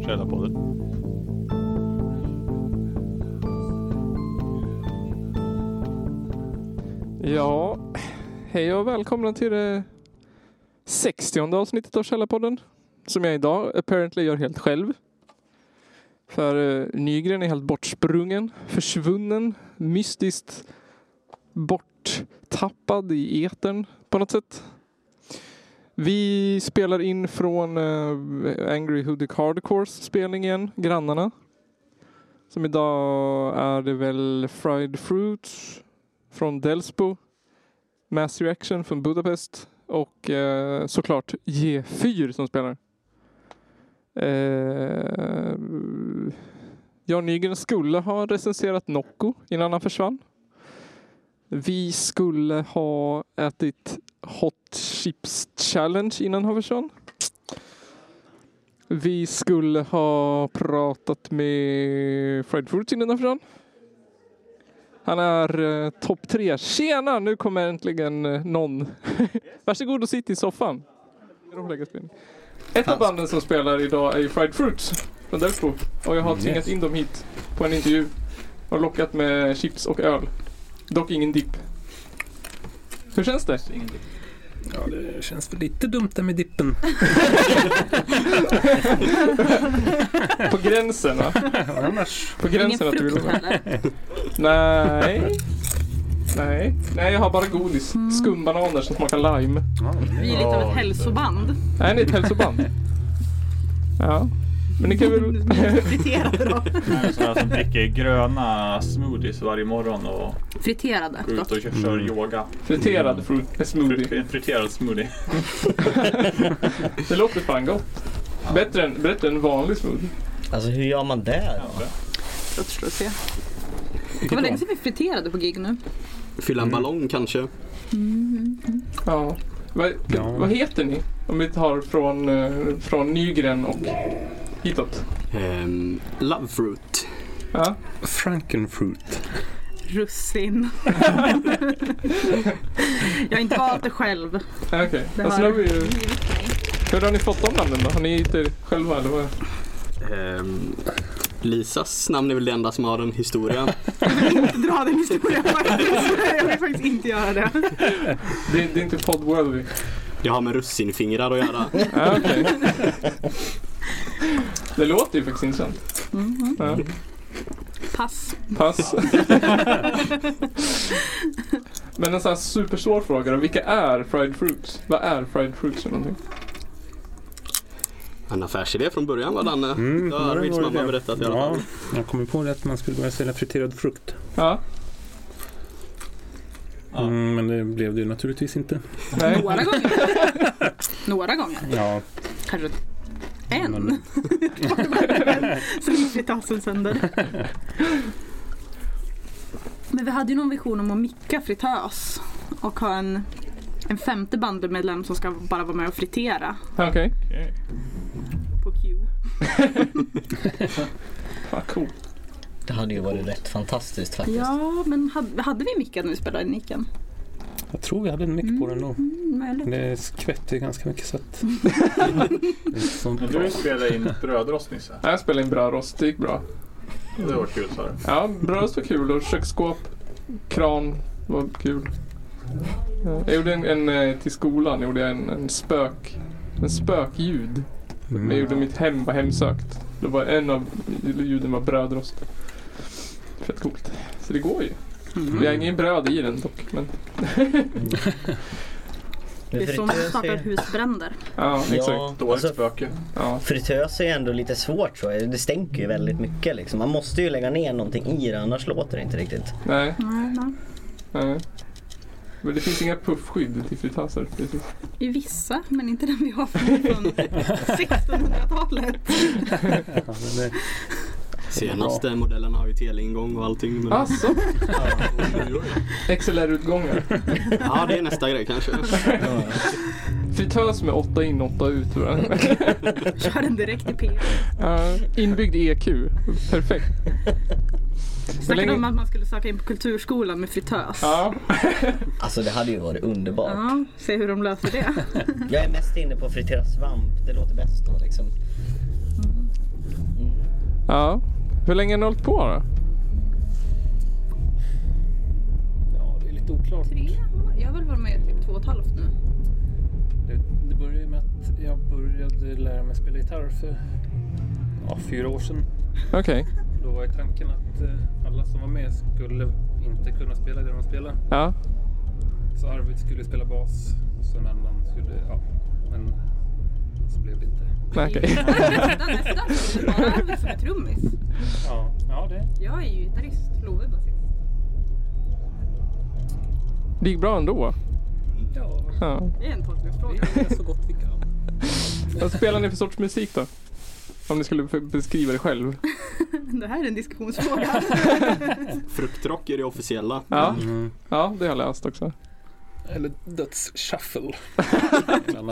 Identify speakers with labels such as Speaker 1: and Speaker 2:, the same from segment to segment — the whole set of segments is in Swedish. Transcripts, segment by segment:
Speaker 1: Källarpodden.
Speaker 2: Ja, hej och välkomna till det 60 avsnittet av Källarpodden. Som jag idag apparently gör helt själv. För eh, Nygren är helt bortsprungen, försvunnen, mystiskt borttappad i etern på något sätt. Vi spelar in från eh, Angry Hoodic Hardcores spelning igen, Grannarna. Som idag är det väl Fried Fruits från Delsbo, Mass Reaction från Budapest och eh, såklart G4 som spelar. Eh, Jan Nygren skulle ha recenserat Nocco innan han försvann. Vi skulle ha ätit Hot Chips Challenge innan han försvann. Vi skulle ha pratat med Fred Fruits innan han försvann. Han är eh, topp tre. Tjena, nu kommer äntligen eh, någon. Varsågod och sitt i soffan. Rolig spelning. Ett av banden som spelar idag är ju Fried Fruits från Delsbo. Och jag har tvingat in dem hit på en intervju. Och lockat med chips och öl. Dock ingen dipp. Hur känns det?
Speaker 3: Ja, det känns väl lite dumt där med dippen.
Speaker 2: På gränsen va?
Speaker 3: Annars.
Speaker 2: På
Speaker 4: Ingen
Speaker 2: gränsen att du vill
Speaker 4: frukt
Speaker 2: vara.
Speaker 4: heller.
Speaker 2: Nej. Nej. Nej, jag har bara godis.
Speaker 4: Mm.
Speaker 2: Skumbananer som smakar lime.
Speaker 4: Vi är lite av ett hälsoband.
Speaker 2: Nej, ni är ett hälsoband. Ja. Men ni kan väl...
Speaker 4: Friterade då.
Speaker 1: Sådana som dricker gröna smoothies varje morgon och
Speaker 4: Friterade
Speaker 1: går ut
Speaker 4: då.
Speaker 1: och kör, kör
Speaker 5: Mm.
Speaker 1: yoga.
Speaker 2: Friterad frukt smoothie.
Speaker 1: Fri- En friterad smoothie.
Speaker 2: Det låter fan gott. Bättre än, bättre än vanlig smoothie.
Speaker 5: Alltså hur gör man det?
Speaker 4: Jag tror att se. Det var länge sedan vi friterade på gig nu.
Speaker 6: Fylla en ballong kanske?
Speaker 2: Ja. Vad,
Speaker 3: Ja.
Speaker 2: vad heter ni? Om vi tar från, eh, från Nygren och hitåt.
Speaker 6: Ehm, love fruit.
Speaker 2: Ja.
Speaker 3: Frankenfruit.
Speaker 4: Russin. jag har inte valt det själv.
Speaker 2: Ja, Okej.
Speaker 4: Det
Speaker 2: Alltså, nu
Speaker 4: har-
Speaker 2: har vi ju, hur har ni fått de namnen då? Har ni hittat er själva eller vad?
Speaker 6: Ehm, Lisas namn är väl det enda som har en historia.
Speaker 4: Dra den historien faktiskt. Jag vill faktiskt inte göra det.
Speaker 2: Det, det är inte poddworthy.
Speaker 6: Det har med russinfingrar att göra.
Speaker 2: Ja, okej. Det låter ju faktiskt intressant.
Speaker 4: Mhm.
Speaker 2: Ja.
Speaker 4: Pass.
Speaker 2: Pass. Men en sån här supersvår fråga då. Vilka är fried fruits? Vad är fried fruits för någonting?
Speaker 6: En affärsidé från början var Danne.
Speaker 3: Mm,
Speaker 6: det har
Speaker 3: det
Speaker 6: Arvids
Speaker 3: var ju
Speaker 6: mamma
Speaker 3: det.
Speaker 6: berättat i alla
Speaker 3: Ja,
Speaker 6: fall.
Speaker 3: jag kommer på det att man skulle börja sälja friterad frukt.
Speaker 2: Ja.
Speaker 1: Ja.
Speaker 3: Mm, men det blev det ju naturligtvis inte.
Speaker 2: Nej.
Speaker 4: Några gånger. Några gånger.
Speaker 3: Ja,
Speaker 4: Kanske en.
Speaker 3: Men-
Speaker 4: Sen gick fritassen sönder. Men vi hade ju någon vision om att micka fritös och ha en, en femte bandmedlem som ska bara vara med och fritera
Speaker 2: Okej.
Speaker 1: Okej.
Speaker 4: på Q.
Speaker 2: Fan coolt.
Speaker 5: Det hade ju varit rätt fantastiskt faktiskt.
Speaker 4: Ja, men hade, hade vi mickat när vi spelade i Nicken?
Speaker 3: jag tror vi hade en mick på den då.
Speaker 4: Mm, möjligt.
Speaker 3: Det skvätte ganska mycket så att...
Speaker 6: Mm.
Speaker 3: Det är sånt
Speaker 1: Men
Speaker 3: bra.
Speaker 1: du spelade in brödrost nyss här.
Speaker 2: Jag spelade in brödrost. Det gick bra.
Speaker 1: Det var kul sa du.
Speaker 2: Ja, brödrost var kul och köksskåp, kran var kul. Ja, Jag gjorde en, en eh, till skolan, gjorde jag en, en spök. En spökljud.
Speaker 3: Mm.
Speaker 2: Jag gjorde mitt hem var hemsökt. Det var en av ljuden var brödrost. Fett coolt. Så det går ju.
Speaker 4: Mm.
Speaker 2: Vi har ingen bröd i den dock. Men,
Speaker 4: Det är så man startar
Speaker 5: är
Speaker 4: husbränder.
Speaker 2: ja, exakt.
Speaker 5: Ja,
Speaker 1: Dåligt
Speaker 5: alltså,
Speaker 1: spöke.
Speaker 2: Ja.
Speaker 5: fritös är ändå lite svårt så. Det stänker ju väldigt mycket liksom. Man måste ju lägga ner någonting i det annars låter det inte riktigt.
Speaker 2: Nej,
Speaker 4: Nej, nej.
Speaker 2: nej. Men det finns inga puffskydd till fritöser. precis.
Speaker 4: I vissa, men inte den vi har från från 1600-talet.
Speaker 3: Ja, men det-
Speaker 6: Senaste modellen har ju teleingång och allting. Men...
Speaker 2: Alltså,
Speaker 1: Oj, oj, oj.
Speaker 2: XLR-utgångar.
Speaker 6: Ja, det är nästa grej kanske.
Speaker 2: Fritös med åtta in, åtta ut tror jag.
Speaker 4: Kör den direkt i P.
Speaker 2: E Ja, inbyggd EQ. Perfekt.
Speaker 4: Snackade
Speaker 2: länge-
Speaker 4: om att man skulle söka in på kulturskolan med fritös.
Speaker 2: Ja.
Speaker 5: Alltså det hade ju varit underbart.
Speaker 4: Ja, se hur de löser det.
Speaker 5: Jag är mest inne på fritera svamp, det låter bäst då liksom.
Speaker 2: ja. Hur länge har ni hållit på då?
Speaker 3: Ja, det är lite oklart.
Speaker 4: Tre? Jag har väl varit med i typ två och ett halvt nu.
Speaker 3: Det, det började ju med att jag började lära mig spela gitarr för ja, fyra år sedan.
Speaker 2: Okej.
Speaker 3: Då var ju tanken att eh, alla som var med skulle inte kunna spela det de spelade.
Speaker 2: Ja.
Speaker 3: Så Arvid skulle spela bas och så en annan skulle, ja, men så blev det inte.
Speaker 2: Nej, okej.
Speaker 4: Nästan, nästan. Det är bara Arvid som är trummis.
Speaker 3: Ja, ja det.
Speaker 4: Jag är ju gitarrist, Love är basist.
Speaker 2: Det gick bra ändå.
Speaker 3: Ja,
Speaker 2: Ja.
Speaker 4: Det är en tolkningsfråga.
Speaker 3: vi gör så gott vi kan.
Speaker 2: Vad spelar ni för sorts musik då? Om ni skulle f- beskriva det själv.
Speaker 4: Det här är en diskussionsfråga.
Speaker 6: Fruktrock är det officiella.
Speaker 2: Ja.
Speaker 3: Mm.
Speaker 2: Ja, det har jag läst också.
Speaker 3: Eller dödsshuffle.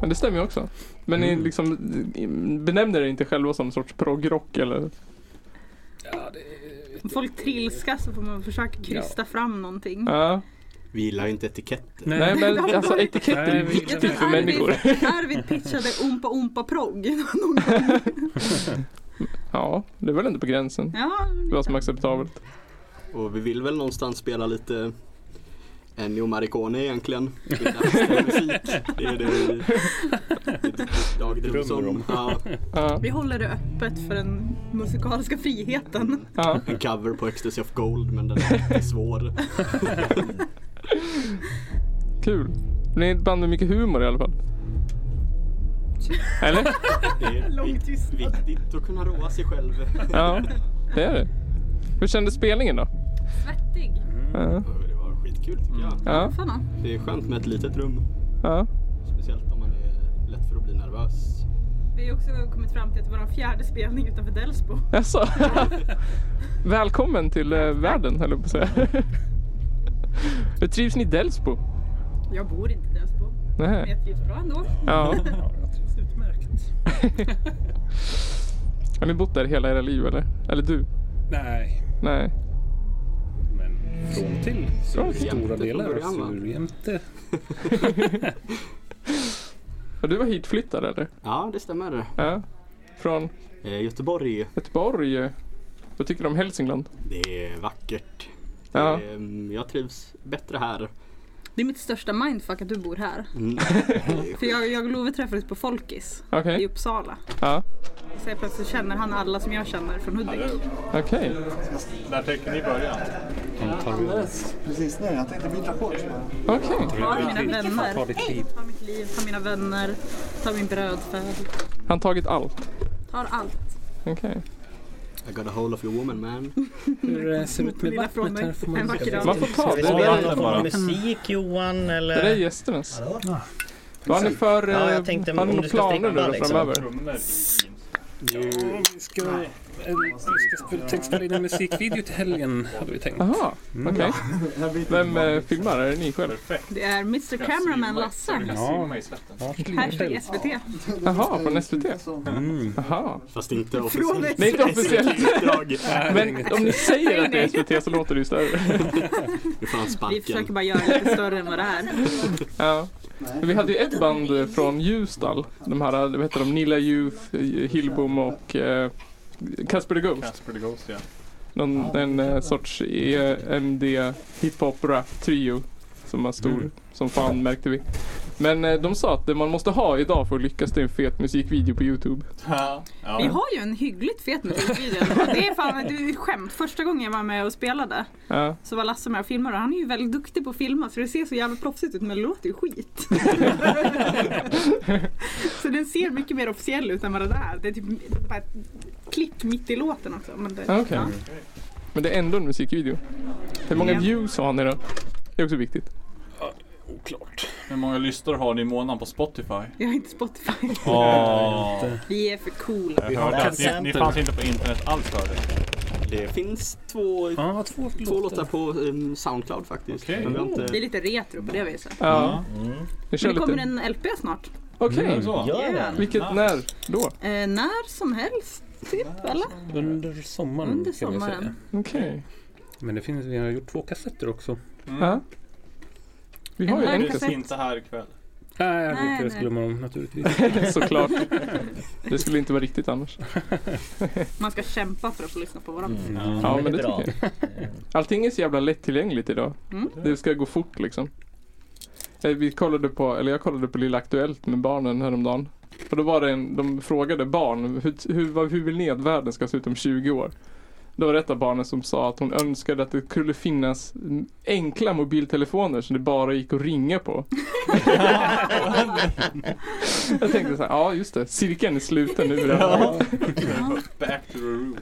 Speaker 2: Men det stämmer ju också. Men ni liksom eh, benämner er inte själva som sorts proggrock eller?
Speaker 3: ja, det är...
Speaker 4: Om folk trilskas så får man försöka krysta fram någonting.
Speaker 2: Ja.
Speaker 6: Vi gillar ju inte etiketter.
Speaker 3: Nej,
Speaker 2: Nej men alltså etiketter
Speaker 3: Nej,
Speaker 2: är
Speaker 3: vi-
Speaker 4: Jag
Speaker 2: viktigt
Speaker 4: tror
Speaker 2: för människor.
Speaker 4: Arvid, Arvid pitchade ompa ompa progg.
Speaker 2: Ja, det är väl ändå på gränsen.
Speaker 4: Ja,
Speaker 2: Vad som är acceptabelt.
Speaker 6: Och vi vill väl någonstans spela lite Ennio Maricone egentligen. Det är dansmusik. Det är det vi dagdrömmer som. Ja,
Speaker 2: Ja,
Speaker 4: vi håller det öppet för den musikaliska friheten.
Speaker 2: ja.
Speaker 6: en cover på Ecstasy of Gold men den är lite svår.
Speaker 2: Kul. Ni är ett band med mycket humor i alla fall. Eller?
Speaker 6: Det är
Speaker 4: Lång
Speaker 6: vik-
Speaker 4: tystnad.
Speaker 6: viktigt att kunna roa sig själv.
Speaker 2: Ja, det är det. Hur kändes spelningen då?
Speaker 4: Svettig.
Speaker 2: Ja,
Speaker 6: Det var skitkul tycker jag.
Speaker 2: ja,
Speaker 4: Fan,
Speaker 6: Det är skönt med ett litet rum.
Speaker 2: ja.
Speaker 6: Speciellt om man är lätt för att bli nervös.
Speaker 4: Vi har också kommit fram till att det var den fjärde spelning utanför Delsbo.
Speaker 2: Alltså. Välkommen till eh, världen höll jag på att säga. Hur trivs ni i Delsbo?
Speaker 4: Jag bor inte i Delsbo, men
Speaker 2: Nej.
Speaker 4: jag trivs bra ändå.
Speaker 2: Ja.
Speaker 3: Ja, jag trivs utmärkt.
Speaker 2: Har ni bott där hela era liv eller? Eller du?
Speaker 3: Nej,
Speaker 2: Nej.
Speaker 3: men från till
Speaker 2: Från
Speaker 3: så
Speaker 2: till.
Speaker 3: stora
Speaker 6: Jämte
Speaker 3: delar
Speaker 6: från
Speaker 3: av
Speaker 6: början, va?
Speaker 3: Surjämte.
Speaker 2: Och du var hitflyttad eller?
Speaker 6: Ja, det stämmer.
Speaker 2: Ja. Från
Speaker 6: Eh, Göteborg,
Speaker 2: Göteborg. eh. Vad tycker du om Hälsingland?
Speaker 6: det är vackert.
Speaker 2: Ja.
Speaker 6: Eh, Jag trivs bättre här.
Speaker 4: Det är mitt största mindfuck att du bor här.
Speaker 6: Mm.
Speaker 4: För jag, jag och Love träffades på Folkis
Speaker 2: Okej.
Speaker 4: i Uppsala.
Speaker 2: Ja.
Speaker 4: Och så helt plötsligt känner han alla som jag känner från Hudik.
Speaker 2: Okej.
Speaker 1: När tänker ni börja?
Speaker 7: Alldeles precis nu. Jag tänkte byta kort.
Speaker 2: Okej.
Speaker 4: Ta mina vänner.
Speaker 3: Ta ditt liv.
Speaker 4: Ta mitt liv, ta mina vänner, ta min brödfärd.
Speaker 2: Han tagit allt.
Speaker 4: Tar allt.
Speaker 2: Okej.
Speaker 6: I got a hole of your woman man.
Speaker 3: Hur eh, ser det ut med
Speaker 4: Lilla från
Speaker 3: vattnet
Speaker 4: mig.
Speaker 3: här? Får man
Speaker 4: En vacker dag.
Speaker 2: Man får ta
Speaker 5: Ska vi
Speaker 2: det.
Speaker 1: Ja,
Speaker 5: spela
Speaker 1: den
Speaker 5: någon form
Speaker 1: bara.
Speaker 5: av musik Johan
Speaker 2: Det där är
Speaker 5: eller?
Speaker 2: gästernas. Vad har ni för
Speaker 5: Ja, jag
Speaker 2: eh,
Speaker 5: tänkte
Speaker 2: har ni
Speaker 5: om
Speaker 2: några
Speaker 5: du ska
Speaker 2: planer nu
Speaker 5: stänga
Speaker 2: då
Speaker 5: liksom.
Speaker 2: framöver?
Speaker 1: Trummor i
Speaker 3: Ja, vi ska, eh, vi ska spela- texta in en musikvideo till helgen hade vi tänkt.
Speaker 2: Jaha, okej. Vem eh, filmar? Är det ni själv?
Speaker 1: Perfekt.
Speaker 4: Det är Mr Cameraman Lasse.
Speaker 1: Simma i svetten.
Speaker 4: Hashtag SVT.
Speaker 2: Jaha, från SVT?
Speaker 3: Mm.
Speaker 2: Jaha.
Speaker 6: Fast inte
Speaker 4: Från
Speaker 6: officiellt.
Speaker 2: Nej, inte officiellt.
Speaker 6: Uppdrag.
Speaker 2: Men om ni säger att det är SVT så låter det ju större.
Speaker 6: Nu får han
Speaker 4: Vi försöker
Speaker 6: sparken.
Speaker 4: bara göra det lite större än vad det är.
Speaker 2: Ja. Men Vi hade ju ett band eh, från Ljusdal. De här, eh, vad heter de? Nilla Youth, eh, Hillbom och eh, Casper the Ghost.
Speaker 1: Casper the Ghost ja.
Speaker 2: Någon, en eh, sorts EMD hiphop rap trio som var stor som fan märkte vi. Men eh, de sa att det man måste ha idag för att lyckas det är en fet musikvideo på Youtube.
Speaker 1: Ja.
Speaker 4: Vi har ju en hyggligt fet musikvideo. Det är fan det är ett skämt. Första gången jag var med och spelade
Speaker 2: Ja,
Speaker 4: så var Lasse med och filmade. Han är ju väldigt duktig på att filma så det ser så jävla proffsigt ut men det låter ju skit. så den ser mycket mer officiell ut än vad det är. Det är typ bara ett klipp mitt i låten också. Men det,
Speaker 2: Ah, okej. Men det är ändå en musikvideo. Hur många
Speaker 4: Ja.
Speaker 2: views har ni då? Det är också viktigt.
Speaker 3: Oklart.
Speaker 1: Hur många lyssnare har ni i månaden på Spotify?
Speaker 4: Jag har inte Spotify.
Speaker 1: Åh.
Speaker 4: Vi är för coola.
Speaker 1: Jag hörde att ni, ni fanns inte på internet alls förut.
Speaker 6: Det finns två,
Speaker 3: Ja, två
Speaker 6: två
Speaker 3: låtar.
Speaker 6: låtar på um, Soundcloud faktiskt.
Speaker 1: Okej.
Speaker 6: Men vi har
Speaker 4: Vi är
Speaker 6: inte...
Speaker 4: lite retro på det viset.
Speaker 2: Ja. Vi kör
Speaker 4: Men det kommer
Speaker 2: lite.
Speaker 4: en LP snart.
Speaker 2: Okej.
Speaker 1: Så.
Speaker 5: Gör den?
Speaker 2: Vilket, när då?
Speaker 4: Eh, när som helst. Typ, eller?
Speaker 3: Under sommaren
Speaker 4: Under
Speaker 3: kan vi
Speaker 4: sommaren.
Speaker 3: säga.
Speaker 2: Okej.
Speaker 3: Men det finns, vi har gjort två kassetter också.
Speaker 1: Mm.
Speaker 2: Ja. Vi har ju
Speaker 4: En
Speaker 2: en
Speaker 1: Det
Speaker 4: kassett.
Speaker 1: finns inte här ikväll.
Speaker 3: Nej, jag
Speaker 4: Nej,
Speaker 3: lyckades
Speaker 4: nej.
Speaker 3: glömma dem naturligtvis.
Speaker 2: kassett. Såklart. Det skulle inte vara riktigt annars.
Speaker 4: Man ska kämpa för att få lyssna på våra.
Speaker 3: Mm.
Speaker 1: Ja.
Speaker 2: Ja,
Speaker 5: är
Speaker 2: men det
Speaker 5: bra.
Speaker 2: tycker Allting är så jävla lättillgängligt idag.
Speaker 4: Mm.
Speaker 2: Det ska gå fort liksom. Eh, Vi kollade på, eller jag kollade på Lilla Aktuellt med barnen häromdagen. Och då var det en, de frågade barn, hur, hur, vad- hur vill ni att världen ska se ut om 20 år? Då var det ett av barnen som sa att hon önskade att det skulle finnas enkla mobiltelefoner som det bara gick att ringa på. jag tänkte så här, ja just det, cirkeln är sluten nu. Ja.
Speaker 4: Ja.
Speaker 1: Back to the room.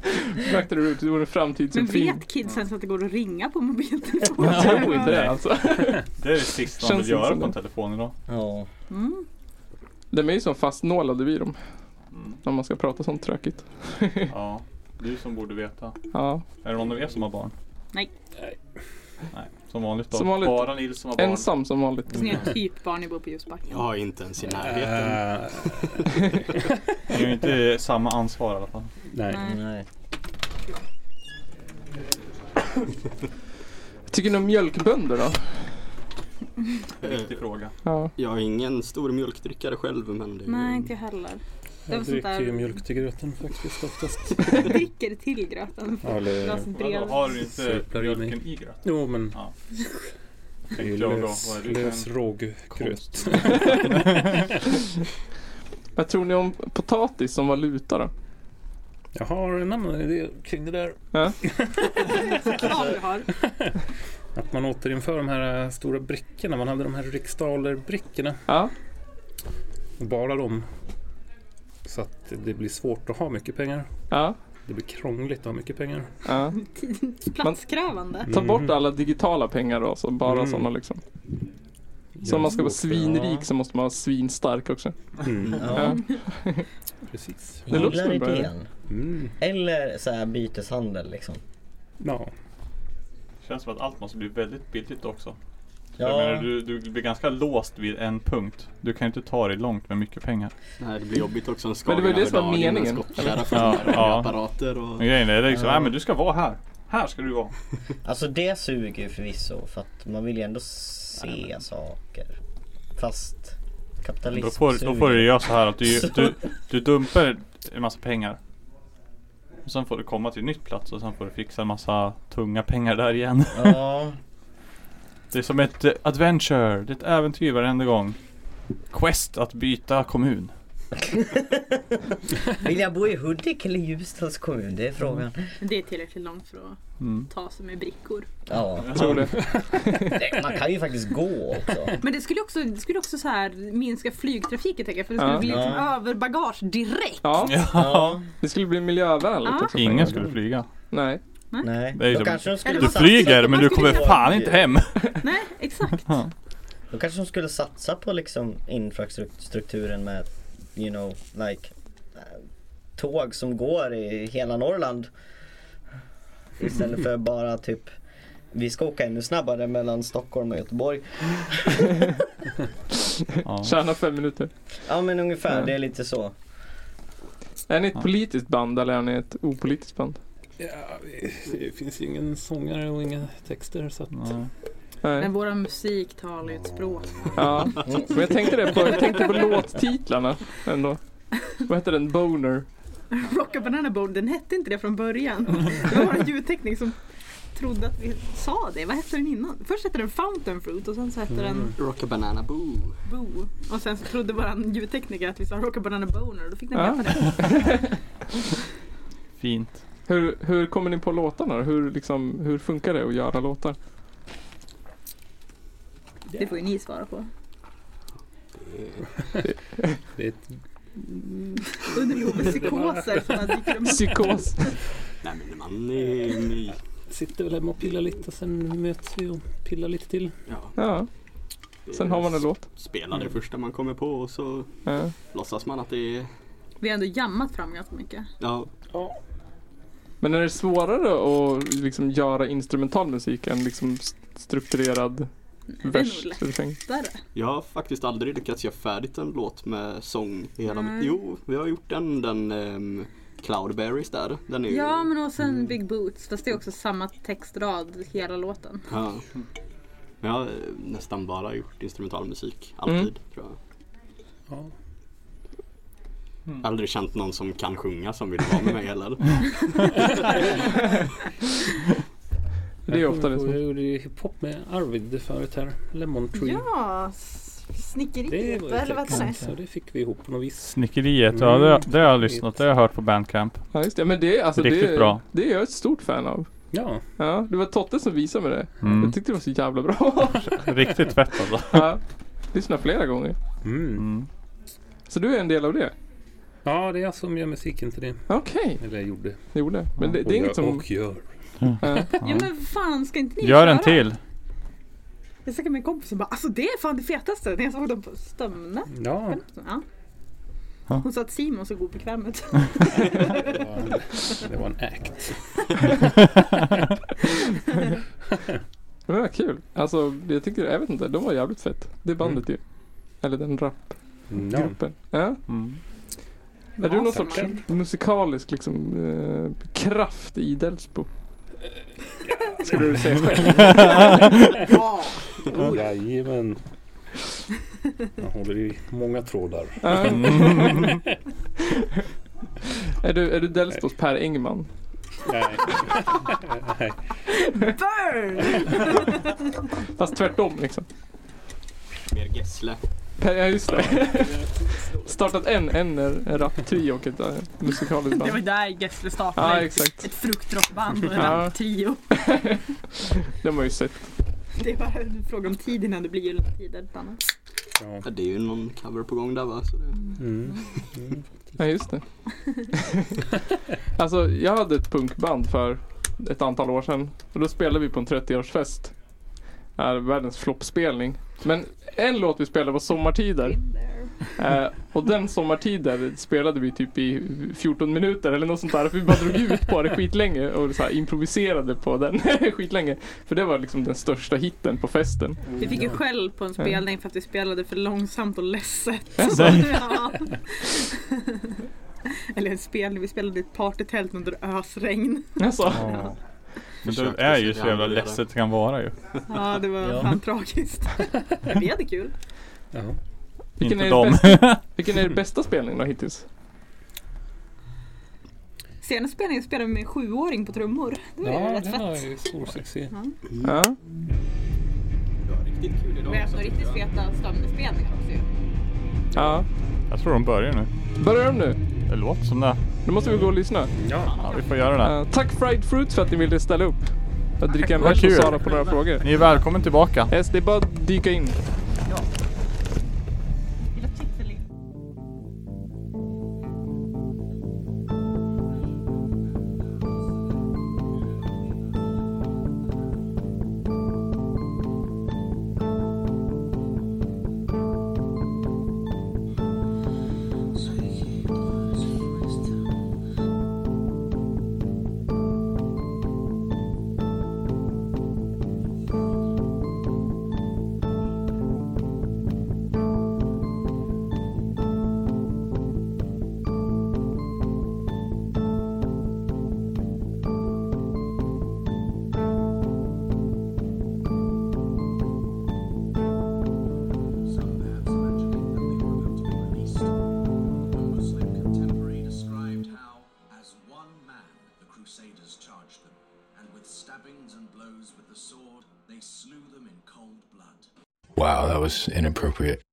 Speaker 2: Back to the roots, det vore en framtid som
Speaker 4: Men
Speaker 2: fin.
Speaker 4: vet kidsen så att det går att ringa på mobiltelefonen?
Speaker 2: Jag tror inte det alltså.
Speaker 1: Det är det sista man
Speaker 2: Känns
Speaker 1: vill
Speaker 2: inte
Speaker 1: göra
Speaker 2: som
Speaker 1: på en
Speaker 2: det.
Speaker 1: telefon idag.
Speaker 5: Ja.
Speaker 4: Mm.
Speaker 2: De är ju som fastnålade vid dem.
Speaker 1: Mm.
Speaker 2: När man ska prata sånt tråkigt.
Speaker 1: Ja, du som borde veta.
Speaker 2: Ja.
Speaker 1: Är det någon av er som har barn?
Speaker 4: Nej.
Speaker 1: Nej, som vanligt då.
Speaker 2: Som vanligt.
Speaker 1: Bara Nils som har barn.
Speaker 2: Ensam som vanligt.
Speaker 4: Så ni är typ barn ni bor på Ljusbacken.
Speaker 6: Jag har inte ens i
Speaker 2: Eh,
Speaker 6: närheten.
Speaker 3: Äh,
Speaker 1: Ni har ju inte samma ansvar i alla fall.
Speaker 3: nej.
Speaker 4: Nej.
Speaker 5: Nej.
Speaker 2: Tycker ni om mjölkbönder då?
Speaker 1: Det är en viktig fråga.
Speaker 2: Ja.
Speaker 6: Eh, Jag är ingen stor mjölkdrickare själv men det är
Speaker 4: Nej, inte jag heller. Det var
Speaker 3: Jag
Speaker 4: sånt
Speaker 3: dricker ju
Speaker 4: där,
Speaker 3: mjölk till gröten faktiskt oftast.
Speaker 4: dricker till gröten.
Speaker 3: Ja, eller...
Speaker 4: Glas
Speaker 1: Vadå,
Speaker 4: drev.
Speaker 1: har du inte
Speaker 3: Sörplar i mig.
Speaker 1: mjölken i gröten?
Speaker 3: Jo, men det är ju
Speaker 1: Tänkte jag då.
Speaker 3: lös,
Speaker 1: Vad är det för
Speaker 3: lös
Speaker 1: en
Speaker 3: råggröt.
Speaker 1: konst?
Speaker 2: Vad tror ni om potatis som valuta då?
Speaker 3: Jag har en annan idé kring det där.
Speaker 4: Ja, du har.
Speaker 3: Att man återinför de här eh, stora brickorna. Man hade de här riksdaler-brickorna.
Speaker 2: Ja.
Speaker 3: Och bara dem. Så att det blir svårt att ha mycket pengar.
Speaker 2: Ja.
Speaker 3: Det blir krångligt att ha mycket pengar.
Speaker 2: ja.
Speaker 4: Platskrävande.
Speaker 2: Ta
Speaker 3: Mm.
Speaker 2: bort alla digitala pengar då. Så bara
Speaker 3: Mm.
Speaker 2: sådana liksom. Så
Speaker 3: Ja,
Speaker 2: om man ska vara
Speaker 3: svårt, ja.
Speaker 2: svinrik så måste man vara svinstark också.
Speaker 3: Mm,
Speaker 5: Ja.
Speaker 3: precis.
Speaker 2: Det låter som
Speaker 5: Gillar
Speaker 2: en bra idé.
Speaker 5: idén.
Speaker 3: Mm.
Speaker 5: Eller så här byteshandel liksom.
Speaker 3: Ja.
Speaker 1: Känns som att allt måste bli väldigt billigt också. Jag menar,
Speaker 5: Ja.
Speaker 1: du, du blir ganska låst vid en punkt. Du kan ju inte ta dig långt med mycket pengar.
Speaker 6: Det här blir jobbigt också en
Speaker 2: Men det var ju det som var meningen,
Speaker 6: Skottkärra
Speaker 1: Ja,
Speaker 6: framme
Speaker 1: ja.
Speaker 6: och apparater och...
Speaker 1: Men grejen är det är liksom,
Speaker 5: Ja.
Speaker 1: nej men du ska vara här. Här ska du vara.
Speaker 5: Alltså det suger ju förvisso för att man vill ju ändå se saker. Fast kapitalism
Speaker 1: Då får, då
Speaker 5: suger.
Speaker 1: får du göra så här att du, du, du dumpar en massa pengar. Och sen får du komma till en nytt plats och sen får du fixa en massa tunga pengar där igen.
Speaker 5: Ja.
Speaker 1: Det är som ett eh, adventure, det är ett äventyr varenda gång. Quest att byta kommun.
Speaker 5: Vill jag bo i Hudik eller Ljusdals kommun? Det är frågan.
Speaker 4: Det är tillräckligt långt för att
Speaker 1: Mm.
Speaker 4: ta sig med brickor.
Speaker 5: Ja.
Speaker 2: Tror det.
Speaker 5: Det- Man kan ju faktiskt gå också.
Speaker 4: Men det skulle också, det skulle också så här minska flygtrafiken tänker jag. För det
Speaker 2: Ja.
Speaker 4: skulle bli liksom
Speaker 5: Ja.
Speaker 4: överbagage direkt.
Speaker 2: Ja,
Speaker 5: Ja.
Speaker 2: det skulle bli miljövänligt
Speaker 4: Ja.
Speaker 2: också.
Speaker 1: Ingen skulle flyga.
Speaker 2: Nej.
Speaker 5: Nej.
Speaker 1: Det är
Speaker 5: Då
Speaker 1: som-
Speaker 5: kanske de skulle
Speaker 1: Du
Speaker 5: satsa-
Speaker 1: flyger men du kommer fan inte hem.
Speaker 4: Nej, exakt.
Speaker 5: Då kanske de skulle satsa på liksom infrastrukturen med, you know, like eh, tåg som går i hela Norrland. Istället för bara typ, vi ska åka ännu snabbare mellan Stockholm och Göteborg.
Speaker 1: Ja.
Speaker 2: Tjäna fem minuter.
Speaker 5: Ja men ungefär,
Speaker 2: Ja.
Speaker 5: det är lite så.
Speaker 2: Är ni ett
Speaker 1: Ja.
Speaker 2: politiskt band eller är ni ett opolitiskt band?
Speaker 3: ja. Det finns ju ingen sångare och inga texter. Så att...
Speaker 1: Nej.
Speaker 2: Nej.
Speaker 4: Men våra musik talar ju ett språk.
Speaker 2: Ja, men jag tänkte, det på, jag tänkte på låttitlarna ändå. Vad heter den? Boner?
Speaker 4: Rocka Banana Boat, den hette inte det från början. Det var vår ljudteknik som trodde att vi sa det. Vad hette den innan? Först hette den Fountain Fruit och sen så hette
Speaker 3: Mm.
Speaker 4: den
Speaker 1: Mm.
Speaker 6: Rocka banana boo.
Speaker 4: Boo. Och sen så trodde våran ljudtekniker att vi sa Rocka Banana Boner och då fick den
Speaker 2: Ja.
Speaker 4: heta det.
Speaker 1: Fint.
Speaker 2: Hur, hur kommer ni på låtarna? Hur, liksom, hur funkar det att göra låtar?
Speaker 4: Det får ju ni svara på.
Speaker 3: Det är ett... Mm,
Speaker 4: Under behovet psykoser som bara dyker upp.
Speaker 2: Psykos.
Speaker 6: Nej men man är ny.
Speaker 3: Sitter väl hemma och pillar lite och sen möts vi och pillar lite till.
Speaker 6: Ja,
Speaker 2: Ja,
Speaker 6: det
Speaker 2: sen har man en låt.
Speaker 6: Spelar det första man kommer på och så
Speaker 2: Ja.
Speaker 6: låtsas man att det är...
Speaker 4: Vi har ändå jammat fram ganska mycket.
Speaker 6: Ja,
Speaker 2: Men är det svårare att liksom, göra instrumental musik än liksom, st- strukturerad
Speaker 4: är
Speaker 2: vers?
Speaker 4: nog
Speaker 2: refräng?
Speaker 4: Där.
Speaker 6: jag har faktiskt aldrig lyckats göra färdigt en låt med sång i hela
Speaker 4: Nej.
Speaker 6: mitt... Jo, vi har gjort en, den ehm, Cloudberries där. Den är ju...
Speaker 4: Ja, men och
Speaker 1: Mm.
Speaker 4: sen Big Boots. Fast det är också samma textrad hela låten.
Speaker 6: Ja. Men jag har eh, nästan bara gjort instrumentalmusik. Alltid
Speaker 2: Mm.
Speaker 6: tror jag.
Speaker 3: Ja.
Speaker 6: Jag har aldrig känt någon som kan sjunga som vill vara med mig heller.
Speaker 2: Det är
Speaker 3: Jag
Speaker 2: ofta
Speaker 3: kommer
Speaker 2: det
Speaker 3: ihåg,
Speaker 2: som...
Speaker 3: Jag gjorde ju hiphop med Arvid förut här. Lemon Tree.
Speaker 4: Ja, s-
Speaker 3: det var
Speaker 4: snickeri.
Speaker 3: ju
Speaker 4: Eller vad
Speaker 3: fräckt.
Speaker 4: det är.
Speaker 3: Så det fick vi ihop på något vis.
Speaker 1: Snickeriet, ja det, det har jag lyssnat. Det har jag hört på Bandcamp.
Speaker 2: Ja, just det. Men det, är- alltså,
Speaker 1: Riktigt
Speaker 2: det,
Speaker 1: bra.
Speaker 2: det är jag ett stort fan av.
Speaker 3: Ja.
Speaker 2: Ja, det var Totte som visade mig det.
Speaker 1: Mm.
Speaker 2: Jag tyckte det var så jävla bra.
Speaker 1: Riktigt fett alltså.
Speaker 2: ja. Lyssna flera gånger.
Speaker 3: Mm.
Speaker 1: Mm.
Speaker 2: Så du är en del av det?
Speaker 3: Ja, det är jag som gör musiken till det.
Speaker 2: Okej,
Speaker 3: Eller jag gjorde.
Speaker 2: det gjorde jag. Men det,
Speaker 3: Och
Speaker 2: det är
Speaker 3: gör-
Speaker 2: inget som...
Speaker 3: Och gör.
Speaker 2: Ja.
Speaker 4: Ja men fan ska inte ni
Speaker 1: Gör en
Speaker 4: köra?
Speaker 1: till.
Speaker 4: Jag snackade med en kompis och bara alltså det är fan det fetaste. När jag såg dem på Stömne.
Speaker 3: Ja.
Speaker 4: Ja.
Speaker 1: Ja.
Speaker 4: Hon sa att Simon såg god bekväm ut.
Speaker 3: Det var en, det var en act.
Speaker 2: Men vad kul. Alltså, jag tycker, jag vet inte, de var jävligt fett. Det bandet ju. Eller den rapgruppen.
Speaker 3: Ja.
Speaker 2: Ja.
Speaker 1: Mm.
Speaker 2: Är du någon sorts
Speaker 4: tackar.
Speaker 2: musikalisk liksom, eh, kraft i Delsbo? Skulle du säga själv?
Speaker 4: ja!
Speaker 3: Jajamän. Jag håller i många trådar.
Speaker 2: Ja.
Speaker 1: Mm.
Speaker 2: är du, är du Delsbos Per Engman?
Speaker 3: Nej. Nej.
Speaker 4: Burn!
Speaker 2: Fast tvärtom liksom.
Speaker 6: Mer Gessle.
Speaker 2: Per, ja, just det. Startat en, en eh, raptrio och ett eh, musikaliskt
Speaker 4: Det var
Speaker 2: band.
Speaker 4: där Gessle startade
Speaker 2: Ja,
Speaker 4: ett,
Speaker 2: exakt.
Speaker 4: ett fruktdroppband och en
Speaker 2: Ja.
Speaker 4: trio.
Speaker 2: Det har man ju sett.
Speaker 4: Det är bara en fråga om tid innan det blir jultider. ett annat.
Speaker 3: Ja.
Speaker 6: Ja, det är ju någon cover på gång där va? Så det...
Speaker 3: Mm. Mm.
Speaker 2: Ja, just det. alltså, jag hade ett punkband för ett antal år sedan. Och då spelade vi på en 30-årsfest. Är världens floppspelning. Men en låt vi spelade var Sommartider. Eh, och den Sommartider spelade vi typ i 14 minuter eller något sånt där. För vi bara drog ut på det skitlänge och så här improviserade på den skitlänge. För det var liksom den största hitten på festen.
Speaker 4: Vi fick ju skäll på en spelning för att vi spelade för långsamt och ledset.
Speaker 2: Jaså?
Speaker 4: Ja. Eller en spelning, vi spelade i ett partytält under ösregn.
Speaker 2: Alltså,
Speaker 1: Ja. Men det är ju så jävla ledset det kan vara ju.
Speaker 4: Ja, det var
Speaker 5: Ja.
Speaker 4: fan tragiskt. Men vi hade kul.
Speaker 3: Ja.
Speaker 2: vilken
Speaker 1: Inte
Speaker 2: är,
Speaker 1: dem.
Speaker 2: er bästa, vilken är er bästa spelning då hittills?
Speaker 4: Senaste spelningen spelade vi med en sjuåring på trummor. Det var ju
Speaker 3: ja,
Speaker 4: rätt
Speaker 3: det
Speaker 4: fett.
Speaker 3: var ju stor succé.
Speaker 1: Mm.
Speaker 2: Ja.
Speaker 6: Ja, riktigt kul idag.
Speaker 4: Vi har haft några riktigt feta stamnespelningar också ju.
Speaker 2: ja.
Speaker 1: Jag tror de börjar nu.
Speaker 2: Börjar de nu?
Speaker 1: Det låter som det.
Speaker 2: Nu måste vi gå och lyssna.
Speaker 1: Ja, vi får göra det.
Speaker 2: Eh, tack Fried Fruits för att ni ville ställa upp. Jag dricker en
Speaker 1: Vad
Speaker 2: bärs och
Speaker 1: kul.
Speaker 2: svara på några frågor.
Speaker 1: Ni är välkommen tillbaka.
Speaker 2: Yes, det är bara att dyka in.
Speaker 8: Some maps mentioning that they were meant to be released. One Muslim contemporary described how, as one man, the Crusaders charged them, and with stabbings and blows with the sword, they slew them in cold blood.
Speaker 9: Wow, that was inappropriate.